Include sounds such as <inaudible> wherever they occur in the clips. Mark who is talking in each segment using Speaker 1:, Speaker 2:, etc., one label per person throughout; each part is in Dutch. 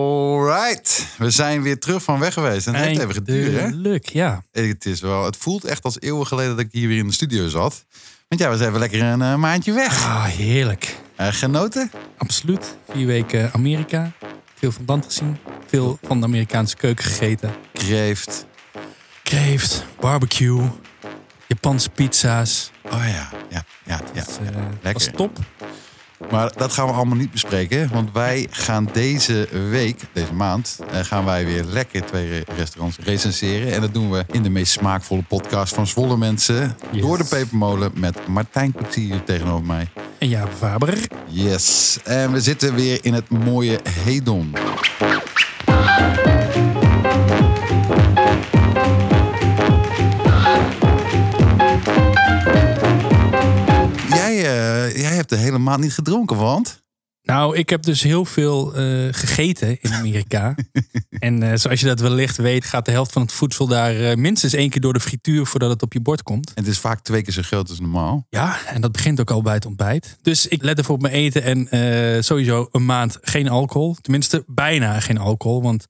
Speaker 1: Alright, we zijn weer terug van weg geweest. En het heeft even geduurd, hè?
Speaker 2: Eindelijk, ja.
Speaker 1: Het, is wel, het voelt echt als eeuwen geleden dat ik hier weer in de studio zat. Want jij was even lekker een eh, maandje weg.
Speaker 2: Ah, heerlijk.
Speaker 1: Eh, genoten?
Speaker 2: Absoluut. Vier weken Amerika. Veel van land gezien. Veel van de Amerikaanse keuken gegeten.
Speaker 1: Kreeft.
Speaker 2: Kreeft, barbecue, Japanse pizza's.
Speaker 1: Oh ja, ja, ja, ja.
Speaker 2: Dat eh, was
Speaker 1: lekker.
Speaker 2: top.
Speaker 1: Maar dat gaan we allemaal niet bespreken. Want wij gaan deze week, deze maand, eh, gaan wij weer lekker twee restaurants recenseren. En dat doen we in de meest smaakvolle podcast van Zwolle mensen.
Speaker 2: Yes.
Speaker 1: Door de pepermolen met Martijn Koetsier tegenover mij.
Speaker 2: En ja, Faber.
Speaker 1: Yes. En we zitten weer in het mooie Hedon. Jij, eh, jij hebt de hele maand niet gedronken, want...
Speaker 2: Nou, ik heb dus heel veel eh, gegeten in
Speaker 1: <laughs>
Speaker 2: Amerika. en eh, zoals je dat wellicht weet, gaat de helft van het voedsel daar eh, minstens één keer door de frituur voordat het op je bord komt.
Speaker 1: Het is vaak twee keer zo groot als normaal.
Speaker 2: Ja, en dat begint ook al bij het ontbijt. Dus ik let even op mijn eten en eh, sowieso een maand geen alcohol. Tenminste, bijna geen alcohol. Want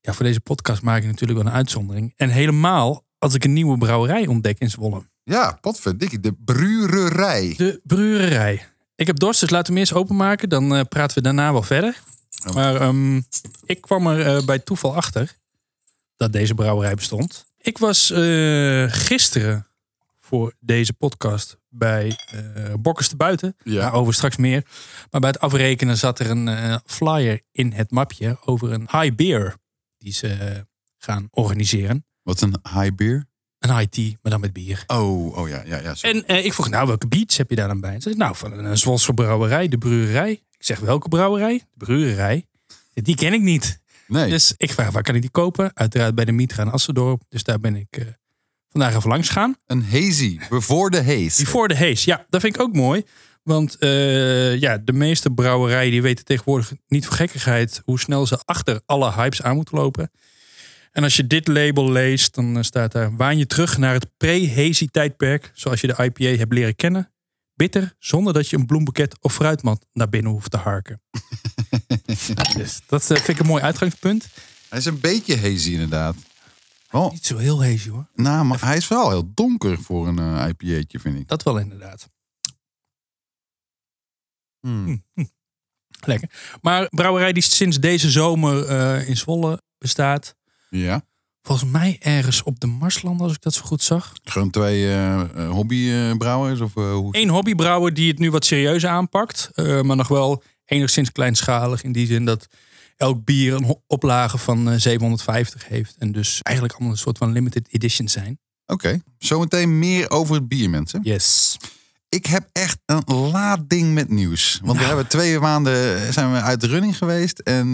Speaker 2: ja, voor deze podcast maak ik natuurlijk wel een uitzondering. En helemaal als ik een nieuwe brouwerij ontdek in Zwolle.
Speaker 1: Ja, potverdikkie. De brurerij.
Speaker 2: De brewerij. Ik heb dorst, dus laten we hem eerst openmaken. Dan eh, praten we daarna wel verder.
Speaker 1: Oh.
Speaker 2: Maar ehm, ik kwam er eh, bij toeval achter dat deze brouwerij bestond. Ik was eh, gisteren voor deze podcast bij eh Bokkers te Buiten.
Speaker 1: Ja.
Speaker 2: Daarover straks meer. Maar bij het afrekenen zat er een eh, flyer in het mapje over een high beer die ze eh, gaan organiseren.
Speaker 1: Wat een high beer.
Speaker 2: Een high tea, maar dan met bier.
Speaker 1: Oh, oh ja, ja, ja. sorry.
Speaker 2: En eh, ik vroeg, nou, welke beats heb je daar dan bij? Ze zei, nou, van een, een Zwolse brouwerij, de brewerij. Ik zeg, welke brouwerij? De brewerij. Die ken ik niet.
Speaker 1: Nee.
Speaker 2: Dus ik vraag, waar kan ik die kopen? Uiteraard bij de Mitra in Assendorp. Dus daar ben ik eh, vandaag even langs gaan.
Speaker 1: Een hazy. Before the haze.
Speaker 2: Before the Haze, ja, dat vind ik ook mooi. Want eh, ja, de meeste brouwerijen die weten tegenwoordig niet voor gekkigheid hoe snel ze achter alle hypes aan moeten lopen. En als je dit label leest, dan eh, staat daar: waan je terug naar het pre-hazy tijdperk, zoals je de IPA hebt leren kennen. Bitter, zonder dat je een bloembeket of fruitmat naar binnen hoeft te <laughs> harken. dus dat eh, vind ik een mooi uitgangspunt.
Speaker 1: Hij is een beetje hazy inderdaad. Wel,
Speaker 2: Niet zo heel hazy hoor.
Speaker 1: nou, maar hij is wel heel donker voor een eh, IPA'tje, vind ik.
Speaker 2: Dat wel inderdaad.
Speaker 1: Hmm.
Speaker 2: Lekker. Maar brouwerij die sinds deze zomer eh, in Zwolle bestaat.
Speaker 1: Ja.
Speaker 2: Volgens mij ergens op de Marslanden, als ik dat zo goed zag.
Speaker 1: Gewoon twee hobbybrouwers hobbybrouwers? of eh, hoe?
Speaker 2: Eén hobbybrouwer die het nu wat serieuzer aanpakt. eh, maar nog wel enigszins kleinschalig. In die zin dat elk bier een ho- oplage van eh, 750 heeft. En dus eigenlijk allemaal een soort van limited edition zijn.
Speaker 1: Oké, zometeen meer over het bier, mensen.
Speaker 2: Yes.
Speaker 1: Ik heb echt een lading met nieuws. Want we
Speaker 2: Nou.
Speaker 1: hebben twee maanden eh, zijn we uit de running geweest. En eh,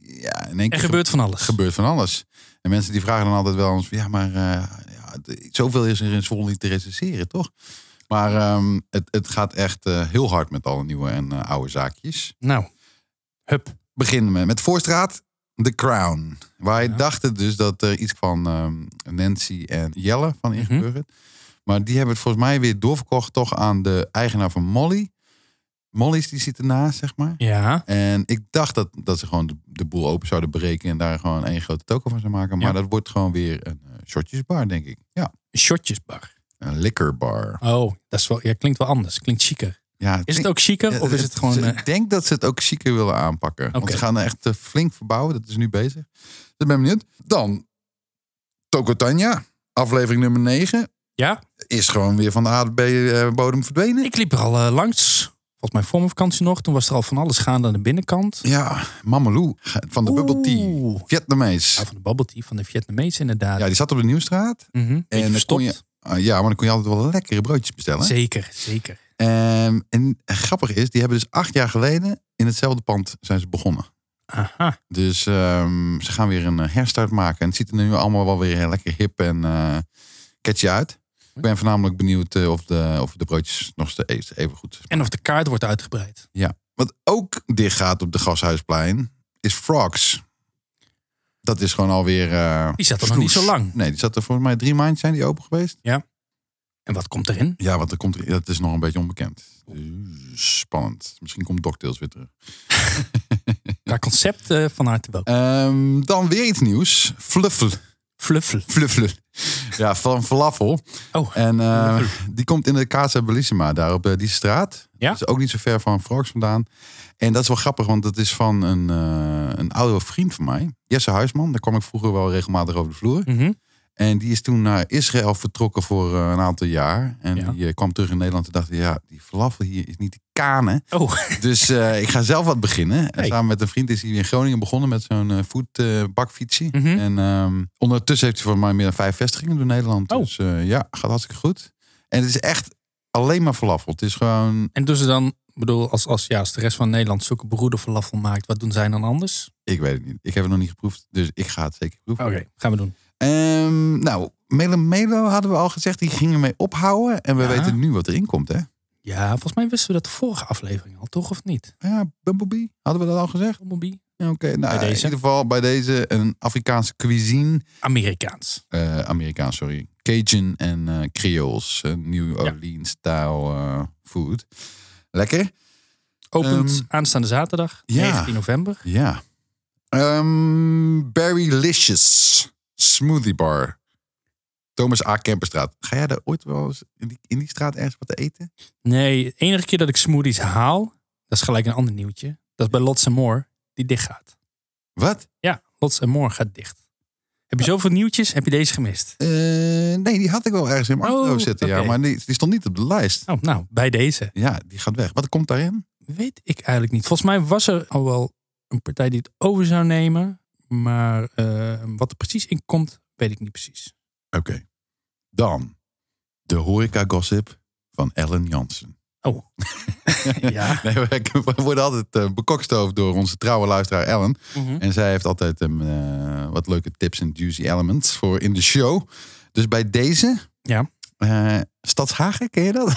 Speaker 1: ja, in één
Speaker 2: Er
Speaker 1: keer
Speaker 2: gebeurt van alles.
Speaker 1: gebeurt van alles. En mensen die vragen dan altijd wel eens... van, Ja, maar eh, ja, d- zoveel is er in Zwolle niet te recenseren, toch? Maar ehm, het, het gaat echt eh, heel hard met alle nieuwe en eh, oude zaakjes.
Speaker 2: Nou, hup.
Speaker 1: beginnen we met Voorstraat, The Crown. Wij
Speaker 2: Ja.
Speaker 1: dachten dus dat er iets van ehm, Nancy en Jelle
Speaker 2: Mhm.
Speaker 1: van ingeburgerd. Maar die hebben het volgens mij weer doorverkocht toch aan de eigenaar van Molly. Molly's die zit ernaast, zeg maar.
Speaker 2: Ja.
Speaker 1: En ik dacht dat, dat ze gewoon de, de boel open zouden breken en daar gewoon één grote toko van zouden maken. Maar
Speaker 2: Ja.
Speaker 1: dat wordt gewoon weer een eh, shotjesbar, denk ik. Ja,
Speaker 2: Shotjesbar.
Speaker 1: een liquorbar.
Speaker 2: Oh, dat is wel, ja, klinkt wel anders. Klinkt chiquer.
Speaker 1: Ja,
Speaker 2: Is het
Speaker 1: denk-
Speaker 2: ook chiquer? Of is het gewoon... eh,
Speaker 1: Ik denk dat ze het ook chiquer willen aanpakken. Want
Speaker 2: Oké.
Speaker 1: ze gaan echt eh, flink verbouwen. Dat is nu bezig. Dus ik ben benieuwd. Dan Tokotanya, aflevering nummer 9.
Speaker 2: ja?
Speaker 1: Is gewoon weer van de aardbodem eh, verdwenen.
Speaker 2: Ik liep er al eh, langs. Volgens mij voor mijn vakantie nog. Toen was er al van alles gaande aan de binnenkant.
Speaker 1: Ja, Mamalou van de Bubble Tea.
Speaker 2: Oeh. Ja,
Speaker 1: Vietnamees.
Speaker 2: van de bubble tea, van de Vietnamese inderdaad.
Speaker 1: Ja, die zat op de Nieuwstraat.
Speaker 2: Mhm. Beetje
Speaker 1: dan
Speaker 2: verstopt.
Speaker 1: kon je- Ah, ja, maar dan kon je altijd wel lekkere broodjes bestellen.
Speaker 2: Zeker, zeker.
Speaker 1: Ehm, en grappig is, die hebben dus acht jaar geleden in hetzelfde pand zijn ze begonnen.
Speaker 2: Aha.
Speaker 1: Dus ehm, ze gaan weer een eh, herstart maken. En het ziet er nu allemaal wel weer heel lekker hip en eh catchy uit. Ik ben voornamelijk benieuwd eh, of, de, of de broodjes nog steeds even goed zijn.
Speaker 2: En of de kaart wordt uitgebreid.
Speaker 1: Ja. Wat ook dicht gaat op de Gashuisplein is Frogs. Dat is gewoon alweer... eh,
Speaker 2: Die zat er nog niet
Speaker 1: snoes.
Speaker 2: zo lang.
Speaker 1: Nee, die zat er volgens mij drie maanden zijn die open geweest.
Speaker 2: En wat komt erin?
Speaker 1: Ja, want er komt, er- dat is
Speaker 2: Oh.
Speaker 1: nog een beetje onbekend. Dus spannend. Misschien komt DuckTales weer terug.
Speaker 2: qua concept eh, van harte welkom.
Speaker 1: Ehm, dan weer iets nieuws. Fluffel.
Speaker 2: Fluffel.
Speaker 1: Fluffel. Ja, van falafel.
Speaker 2: Oh,
Speaker 1: En eh, die komt in de Casa Bellissima, daar op eh, die straat.
Speaker 2: Ja.
Speaker 1: Dat is ook niet zo ver van Frox vandaan. En dat is wel grappig, want dat is van een, eh, een oude vriend van mij. Jesse Huisman, daar kwam ik vroeger wel regelmatig over de vloer.
Speaker 2: mhm.
Speaker 1: En die is toen naar Israël vertrokken voor eh, een aantal jaar. En
Speaker 2: Ja.
Speaker 1: die eh, kwam terug in Nederland en dacht, ja, die falafel hier is niet te kanen.
Speaker 2: oh.
Speaker 1: Dus eh, ik ga zelf wat beginnen. En
Speaker 2: Hey.
Speaker 1: samen met een vriend is hij in Groningen begonnen met zo'n eh food eh, bakfietsie.
Speaker 2: Mhm.
Speaker 1: En ehm, ondertussen heeft hij voor mij meer dan vijf vestigingen door Nederland.
Speaker 2: Oh.
Speaker 1: Dus eh, ja, gaat hartstikke goed. En het is echt alleen maar falafel. Het is gewoon,
Speaker 2: En doen ze dan, ik bedoel, als, als, ja, als de rest van Nederland zulke beroerde falafel maakt, wat doen zij dan anders?
Speaker 1: ik weet het niet. Ik heb het nog niet geproefd, dus ik ga het zeker proeven.
Speaker 2: Oké, gaan we doen.
Speaker 1: Ehm, nou, Melo Melo hadden we al gezegd, die gingen mee ophouden. En we
Speaker 2: Ja.
Speaker 1: weten nu wat erin komt, hè?
Speaker 2: Ja, volgens mij wisten we dat de vorige aflevering al, toch of niet?
Speaker 1: Ja, Bumblebee, hadden we dat al gezegd?
Speaker 2: Bumblebee?
Speaker 1: Ja, Oké, nou,
Speaker 2: Bij
Speaker 1: in
Speaker 2: deze.
Speaker 1: ieder geval bij deze een Afrikaanse cuisine.
Speaker 2: Amerikaans.
Speaker 1: eh, Amerikaans, sorry. Cajun en eh Creoles. eh, New Orleans-style eh, food. Lekker.
Speaker 2: Opent
Speaker 1: Ehm,
Speaker 2: aanstaande zaterdag,
Speaker 1: ja.
Speaker 2: 19 november.
Speaker 1: Ja. Ehm Berrylicious Smoothie Bar. Thomas A. Kemperstraat. Ga jij daar ooit wel eens in die, in die straat ergens wat eten?
Speaker 2: Nee, de enige keer dat ik smoothies haal, dat is gelijk een ander nieuwtje. Dat is bij Lots More, die dicht gaat.
Speaker 1: Wat?
Speaker 2: Ja, Lots More gaat dicht. Heb je zoveel nieuwtjes, heb je deze gemist?
Speaker 1: Eh, nee, die had ik wel ergens in mijn
Speaker 2: Oh,
Speaker 1: achterhoofd zitten. Ja,
Speaker 2: oké.
Speaker 1: maar die, die stond niet op de lijst.
Speaker 2: Oh, nou, bij deze.
Speaker 1: Ja, die gaat weg. Wat komt daarin?
Speaker 2: Weet ik eigenlijk niet. Volgens mij was er al wel een partij die het over zou nemen. Maar eh, wat er precies in komt, weet ik niet precies.
Speaker 1: Oké. Dan de horeca-gossip van Ellen Jansen. <laughs>
Speaker 2: Oh. <laughs> ja.
Speaker 1: Nee, we, we worden altijd eh, bekokstoofd door onze trouwe luisteraar Ellen.
Speaker 2: Mhm.
Speaker 1: En zij heeft altijd ehm, eh, wat leuke tips en juicy elements voor in de show. Dus bij deze.
Speaker 2: Ja.
Speaker 1: eh, Stadshagen, ken je dat?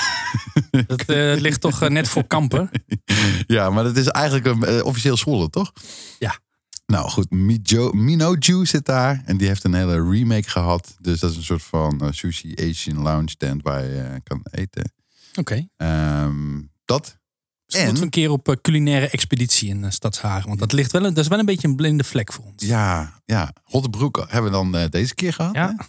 Speaker 1: <laughs>
Speaker 2: Dat eh, ligt toch eh, net voor kampen.
Speaker 1: ja, maar dat is eigenlijk een, eh, officieel Zwolle, toch?
Speaker 2: Ja.
Speaker 1: Nou goed, Mijo, Minoju zit daar. En die heeft een hele remake gehad. Dus dat is een soort van eh, sushi Asian lounge tent waar je eh, kan eten.
Speaker 2: <laughs> Oké.
Speaker 1: Ehm, dat.
Speaker 2: Dus moeten we een keer op eh, culinaire expeditie in eh, Stadshagen. Want dat, ligt wel een, dat is wel een beetje een blinde vlek voor ons.
Speaker 1: Ja, ja. Hotte broek hebben we dan eh, deze keer gehad.
Speaker 2: Ja.
Speaker 1: hè?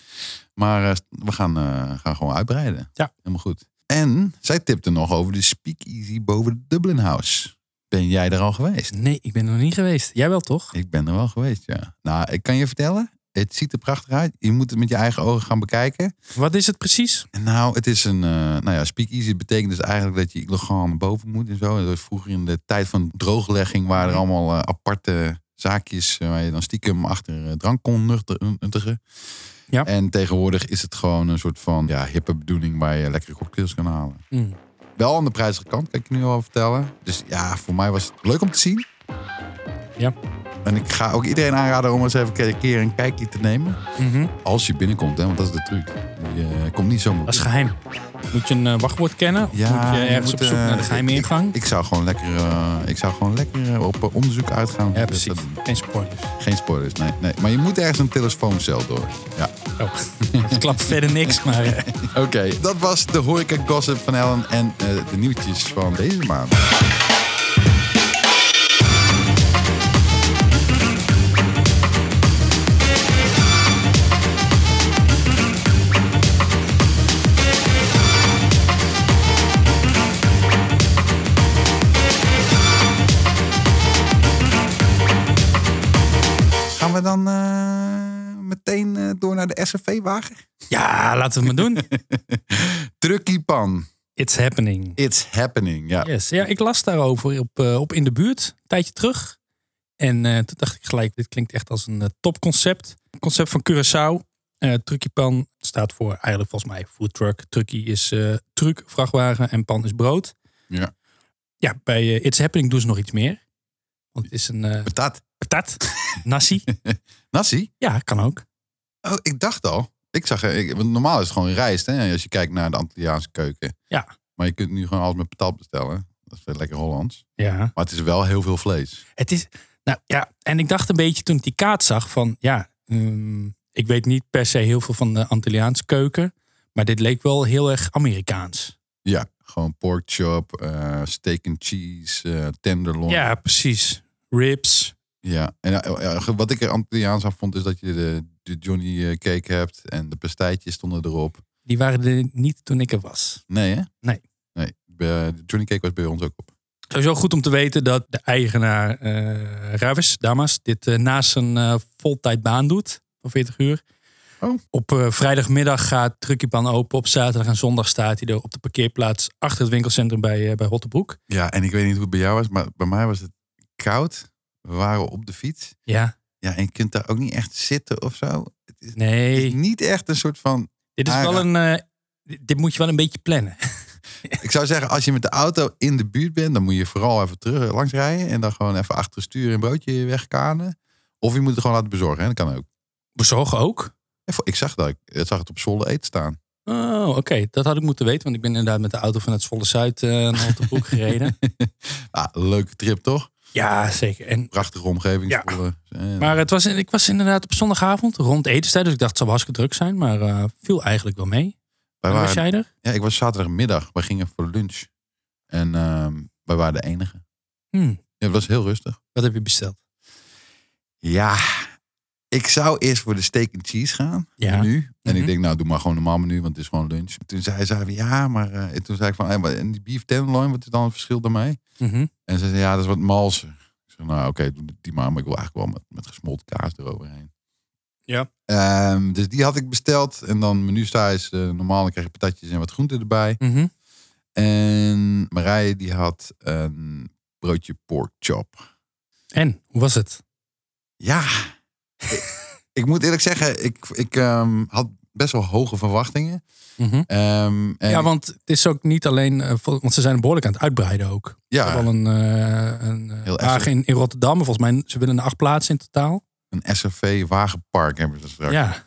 Speaker 1: Maar eh, we gaan, eh, gaan gewoon uitbreiden.
Speaker 2: Ja.
Speaker 1: Helemaal goed. En zij tipte nog over de speakeasy boven de Dublin House. Ben jij er al geweest?
Speaker 2: Nee, ik ben er nog niet geweest. Jij wel toch?
Speaker 1: Ik ben er wel geweest, ja. Nou, ik kan je vertellen. Het ziet er prachtig uit. Je moet het met je eigen ogen gaan bekijken.
Speaker 2: Wat is het precies?
Speaker 1: En nou, het is een... eh nou ja, speakeasy betekent dus eigenlijk dat je illegaal naar boven moet en zo. En dat was vroeger in de tijd van drooglegging waren
Speaker 2: Mhm.
Speaker 1: er allemaal eh, aparte zaakjes... eh, waar je dan stiekem achter eh, drank kon nuchter- nuttigen.
Speaker 2: Ja.
Speaker 1: En tegenwoordig is het gewoon een soort van ja, hippe bedoeling waar je lekkere cocktails kan halen.
Speaker 2: Mm.
Speaker 1: Wel aan de prijzige kant, kan ik je nu al vertellen. Dus ja, voor mij was het leuk om te zien.
Speaker 2: Ja.
Speaker 1: En ik ga ook iedereen aanraden om eens even een keer een kijkje te nemen.
Speaker 2: Mhm.
Speaker 1: Als je binnenkomt, hè, want dat is de truc. Je eh, komt niet zomaar.
Speaker 2: Dat is geheim. Moet je een eh, wachtwoord kennen? Of moet je
Speaker 1: je
Speaker 2: ergens
Speaker 1: moet,
Speaker 2: op zoek
Speaker 1: eh,
Speaker 2: naar de geheime
Speaker 1: ik-
Speaker 2: ingang?
Speaker 1: Ik, ik zou gewoon lekker, eh, ik zou gewoon lekker eh, op eh, onderzoek uitgaan.
Speaker 2: ja,
Speaker 1: Dat-
Speaker 2: precies.
Speaker 1: dat-
Speaker 2: Geen spoilers.
Speaker 1: geen spoilers, nee, nee. Maar je moet ergens een telefooncel door. Ja.
Speaker 2: Oh, <laughs> het klapt verder niks, maar... eh,
Speaker 1: Oké, dat was de horeca gossip van Ellen en eh, de nieuwtjes van deze maand. Gaan we dan eh, meteen eh, door naar de SFV-wagen?
Speaker 2: Ja, laten we het maar doen.
Speaker 1: Truckie pan.
Speaker 2: It's happening.
Speaker 1: It's happening. Ja.
Speaker 2: Yes. Ja, ik las daarover op, eh, op In de Buurt, een tijdje terug. En eh, toen dacht ik gelijk, dit klinkt echt als een eh, topconcept. Een concept van Curaçao. Eh Truckie Pan staat voor eigenlijk volgens mij food truck. Truckie is eh truck, vrachtwagen en pan is brood.
Speaker 1: Ja.
Speaker 2: Ja, bij eh, It's Happening doen ze nog iets meer. Want het is een eh
Speaker 1: Patat.
Speaker 2: patat, nasi.
Speaker 1: Nasi?
Speaker 2: Ja, kan ook.
Speaker 1: Oh, ik dacht al. Ik zag, eh, ik, want normaal is het gewoon rijst, hè? Als je kijkt naar de Antilliaanse keuken.
Speaker 2: Ja.
Speaker 1: Maar je kunt nu gewoon alles met patat bestellen. Dat is weer lekker Hollands.
Speaker 2: Ja.
Speaker 1: Maar het is wel heel veel vlees.
Speaker 2: Het is, nou ja, en ik dacht een beetje toen ik die kaart zag van, ja, ehm, ik weet niet per se heel veel van de Antilliaanse keuken, maar dit leek wel heel erg Amerikaans.
Speaker 1: Ja. Gewoon pork chop, eh, steak and cheese, eh, tenderloin.
Speaker 2: Ja, precies. Ribs,
Speaker 1: Ja, en eh, eh, wat ik er Antilliaans aan vond is dat je de, de Johnny eh, cake hebt en de pastijtjes stonden erop.
Speaker 2: Die waren er niet toen ik er was.
Speaker 1: Nee hè?
Speaker 2: Nee.
Speaker 1: Nee, bij- de Johnny cake was bij ons ook op.
Speaker 2: Sowieso goed om te weten dat de eigenaar eh Ravis, Damas, dit eh, naast zijn eh voltijd baan doet van 40 uur.
Speaker 1: Oh.
Speaker 2: Op eh, vrijdagmiddag gaat Truckiepan open. Op zaterdag en zondag staat hij er op de parkeerplaats achter het winkelcentrum bij, eh, bij Rottebroek.
Speaker 1: Ja, en ik weet niet hoe het bij jou was, maar bij mij was het koud. We waren op de fiets.
Speaker 2: Ja,
Speaker 1: Ja, en je kunt daar ook niet echt zitten of zo. Het is, het is
Speaker 2: nee.
Speaker 1: niet echt een soort van...
Speaker 2: Dit is wel een. eh, dit dit moet je wel een beetje plannen.
Speaker 1: Ik zou zeggen, als je met de auto in de buurt bent, dan moet je vooral even terug eh, langs rijden. En dan gewoon even achter stuur een broodje wegkanen. Of je moet het gewoon laten bezorgen, hè? dat kan ook.
Speaker 2: Bezorgen ook.
Speaker 1: En voor- Ik zag dat, ik ik zag het op Zwolle eten staan.
Speaker 2: Oh, oké. Dat had ik moeten weten, want ik ben inderdaad met de auto van het Zwolle Zuid eh, naar <laughs> Rottebroek gereden.
Speaker 1: <laughs> Ah, leuke trip toch?
Speaker 2: Ja, zeker. En
Speaker 1: Prachtige omgeving.
Speaker 2: Ja.
Speaker 1: Zwolle. Eh,
Speaker 2: Maar het was, ik was inderdaad op zondagavond rond etenstijd. Dus ik dacht, het zal wel hartstikke druk zijn. Maar eh, viel eigenlijk wel mee.
Speaker 1: wij
Speaker 2: En was
Speaker 1: waren,
Speaker 2: jij er?
Speaker 1: ja, ik was zaterdagmiddag, we gingen voor lunch. En ehm wij waren de enige.
Speaker 2: Hm,
Speaker 1: Ja, dat was heel rustig.
Speaker 2: wat heb je besteld?
Speaker 1: Ja, ik zou eerst voor de steak and cheese gaan.
Speaker 2: Ja.
Speaker 1: Nu. En ik
Speaker 2: Mhm.
Speaker 1: denk, nou, doe maar gewoon een normaal menu, want het is gewoon lunch. Toen zei zij van, ja, maar... eh, en toen zei ik van, hey, maar, en die beef tenderloin, wat is dan het verschil daarmee?
Speaker 2: Mhm.
Speaker 1: En ze zei, ja, dat is wat malser. Ik zei, nou, oké, doe die maar. Maar ik wil eigenlijk wel met, met gesmolten kaas eroverheen.
Speaker 2: Ja.
Speaker 1: Ehm, dus die had ik besteld. En dan menu is eh, normaal, dan krijg je patatjes en wat groenten erbij.
Speaker 2: Mhm.
Speaker 1: En Marije, die had een broodje pork chop.
Speaker 2: En, hoe was het? <laughs>
Speaker 1: Ja, ik, ik moet eerlijk zeggen, ik, ik ehm, had best wel hoge verwachtingen.
Speaker 2: Mhm.
Speaker 1: Ehm, en
Speaker 2: Ja, want het is ook niet alleen... eh, vol- want ze zijn behoorlijk aan het uitbreiden ook. Ze
Speaker 1: ja,
Speaker 2: hebben al een, eh een eh,
Speaker 1: Heel
Speaker 2: wagen in, in Rotterdam. En Volgens mij, ze willen er acht plaatsen in totaal.
Speaker 1: een SRV wagenpark hebben ze straks.
Speaker 2: Ja.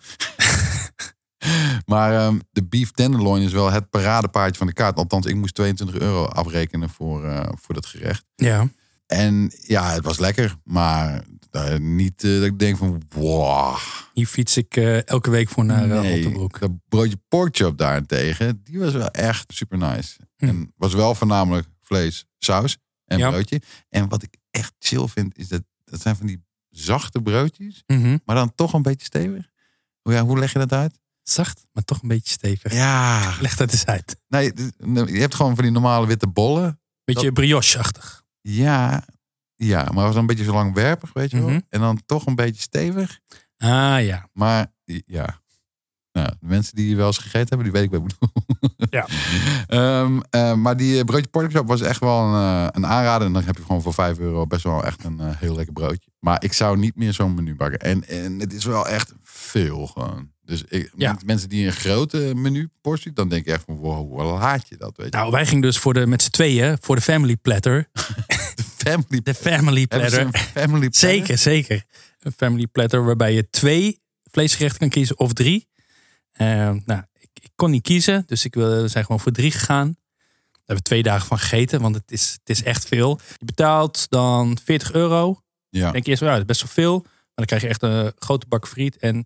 Speaker 1: Maar ehm, de beef tenderloin is wel het paradepaardje van de kaart. Althans, ik moest 22 euro afrekenen voor, eh, voor dat gerecht.
Speaker 2: Ja.
Speaker 1: En ja, het was lekker, maar eh, niet eh, dat ik denk van wow.
Speaker 2: Hier fiets ik eh, elke week voor naar eh,
Speaker 1: Nee,
Speaker 2: Rotterdam.
Speaker 1: dat broodje porkchop daarentegen, die was wel echt super nice.
Speaker 2: Hm.
Speaker 1: En was wel voornamelijk vlees, saus en
Speaker 2: Ja.
Speaker 1: broodje. En wat ik echt chill vind, is dat dat zijn van die zachte broodjes,
Speaker 2: Mhm.
Speaker 1: maar dan toch een beetje stevig. Hoe- Ja, hoe leg je dat uit?
Speaker 2: Zacht, maar toch een beetje stevig.
Speaker 1: Ja,
Speaker 2: Leg dat eens uit.
Speaker 1: nee, dit- je hebt gewoon van die normale witte bollen.
Speaker 2: Beetje brioche-achtig.
Speaker 1: Ja, ja, maar het was een beetje zo langwerpig, weet je wel.
Speaker 2: Mhm.
Speaker 1: En dan toch een beetje stevig.
Speaker 2: Ah ja.
Speaker 1: Maar ja, nou, de mensen die wel eens gegeten hebben, die weet ik wat ik bedoel.
Speaker 2: Ja.
Speaker 1: <laughs> Ehm, eh, maar die eh, broodje porkchop was echt wel een, eh, een aanrader. En dan heb je gewoon voor 5 euro best wel echt een eh, heel lekker broodje. Maar ik zou niet meer zo'n menu bakken. En, en het is wel echt veel gewoon. Dus ik,
Speaker 2: Ja.
Speaker 1: met mensen die een grote menuportie, dan denk ik echt van wow, wat laat je dat? Weet je?
Speaker 2: Nou, wij gingen dus voor de, met z'n tweeën voor de family
Speaker 1: <laughs>
Speaker 2: platter.
Speaker 1: de family,
Speaker 2: De family
Speaker 1: hebben ze
Speaker 2: platter.
Speaker 1: een family platter?
Speaker 2: Zeker, zeker. Een family platter waarbij je twee vleesgerechten kan kiezen of drie. Ehm, nou, ik, ik kon niet kiezen, dus ik, wil- we zijn gewoon voor drie gegaan. Daar hebben we twee dagen van gegeten, want het is, het is echt veel. Je betaalt dan 40 euro.
Speaker 1: Ja.
Speaker 2: denk je eerst, wel, ja, dat is best wel veel. Maar dan krijg je echt een grote bak friet. En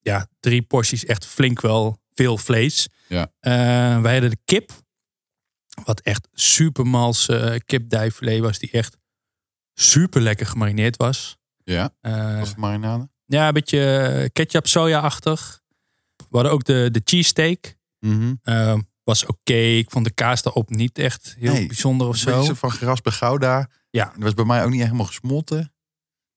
Speaker 2: ja, drie porties echt flink wel veel vlees.
Speaker 1: Ja.
Speaker 2: Eh, wij hadden de kip. Wat echt supermals eh kipdijfilet was. Die echt super lekker gemarineerd was.
Speaker 1: Ja,
Speaker 2: Eh,
Speaker 1: was het marinade?
Speaker 2: ja, een beetje ketchup soja-achtig. We hadden ook de, de cheesesteak. Eh, was oké. Ik vond de kaas daarop niet echt heel
Speaker 1: Nee,
Speaker 2: bijzonder of
Speaker 1: Een beetje
Speaker 2: zo.
Speaker 1: soort van geraspte gouda.
Speaker 2: Ja.
Speaker 1: Dat was bij mij ook niet echt helemaal gesmolten.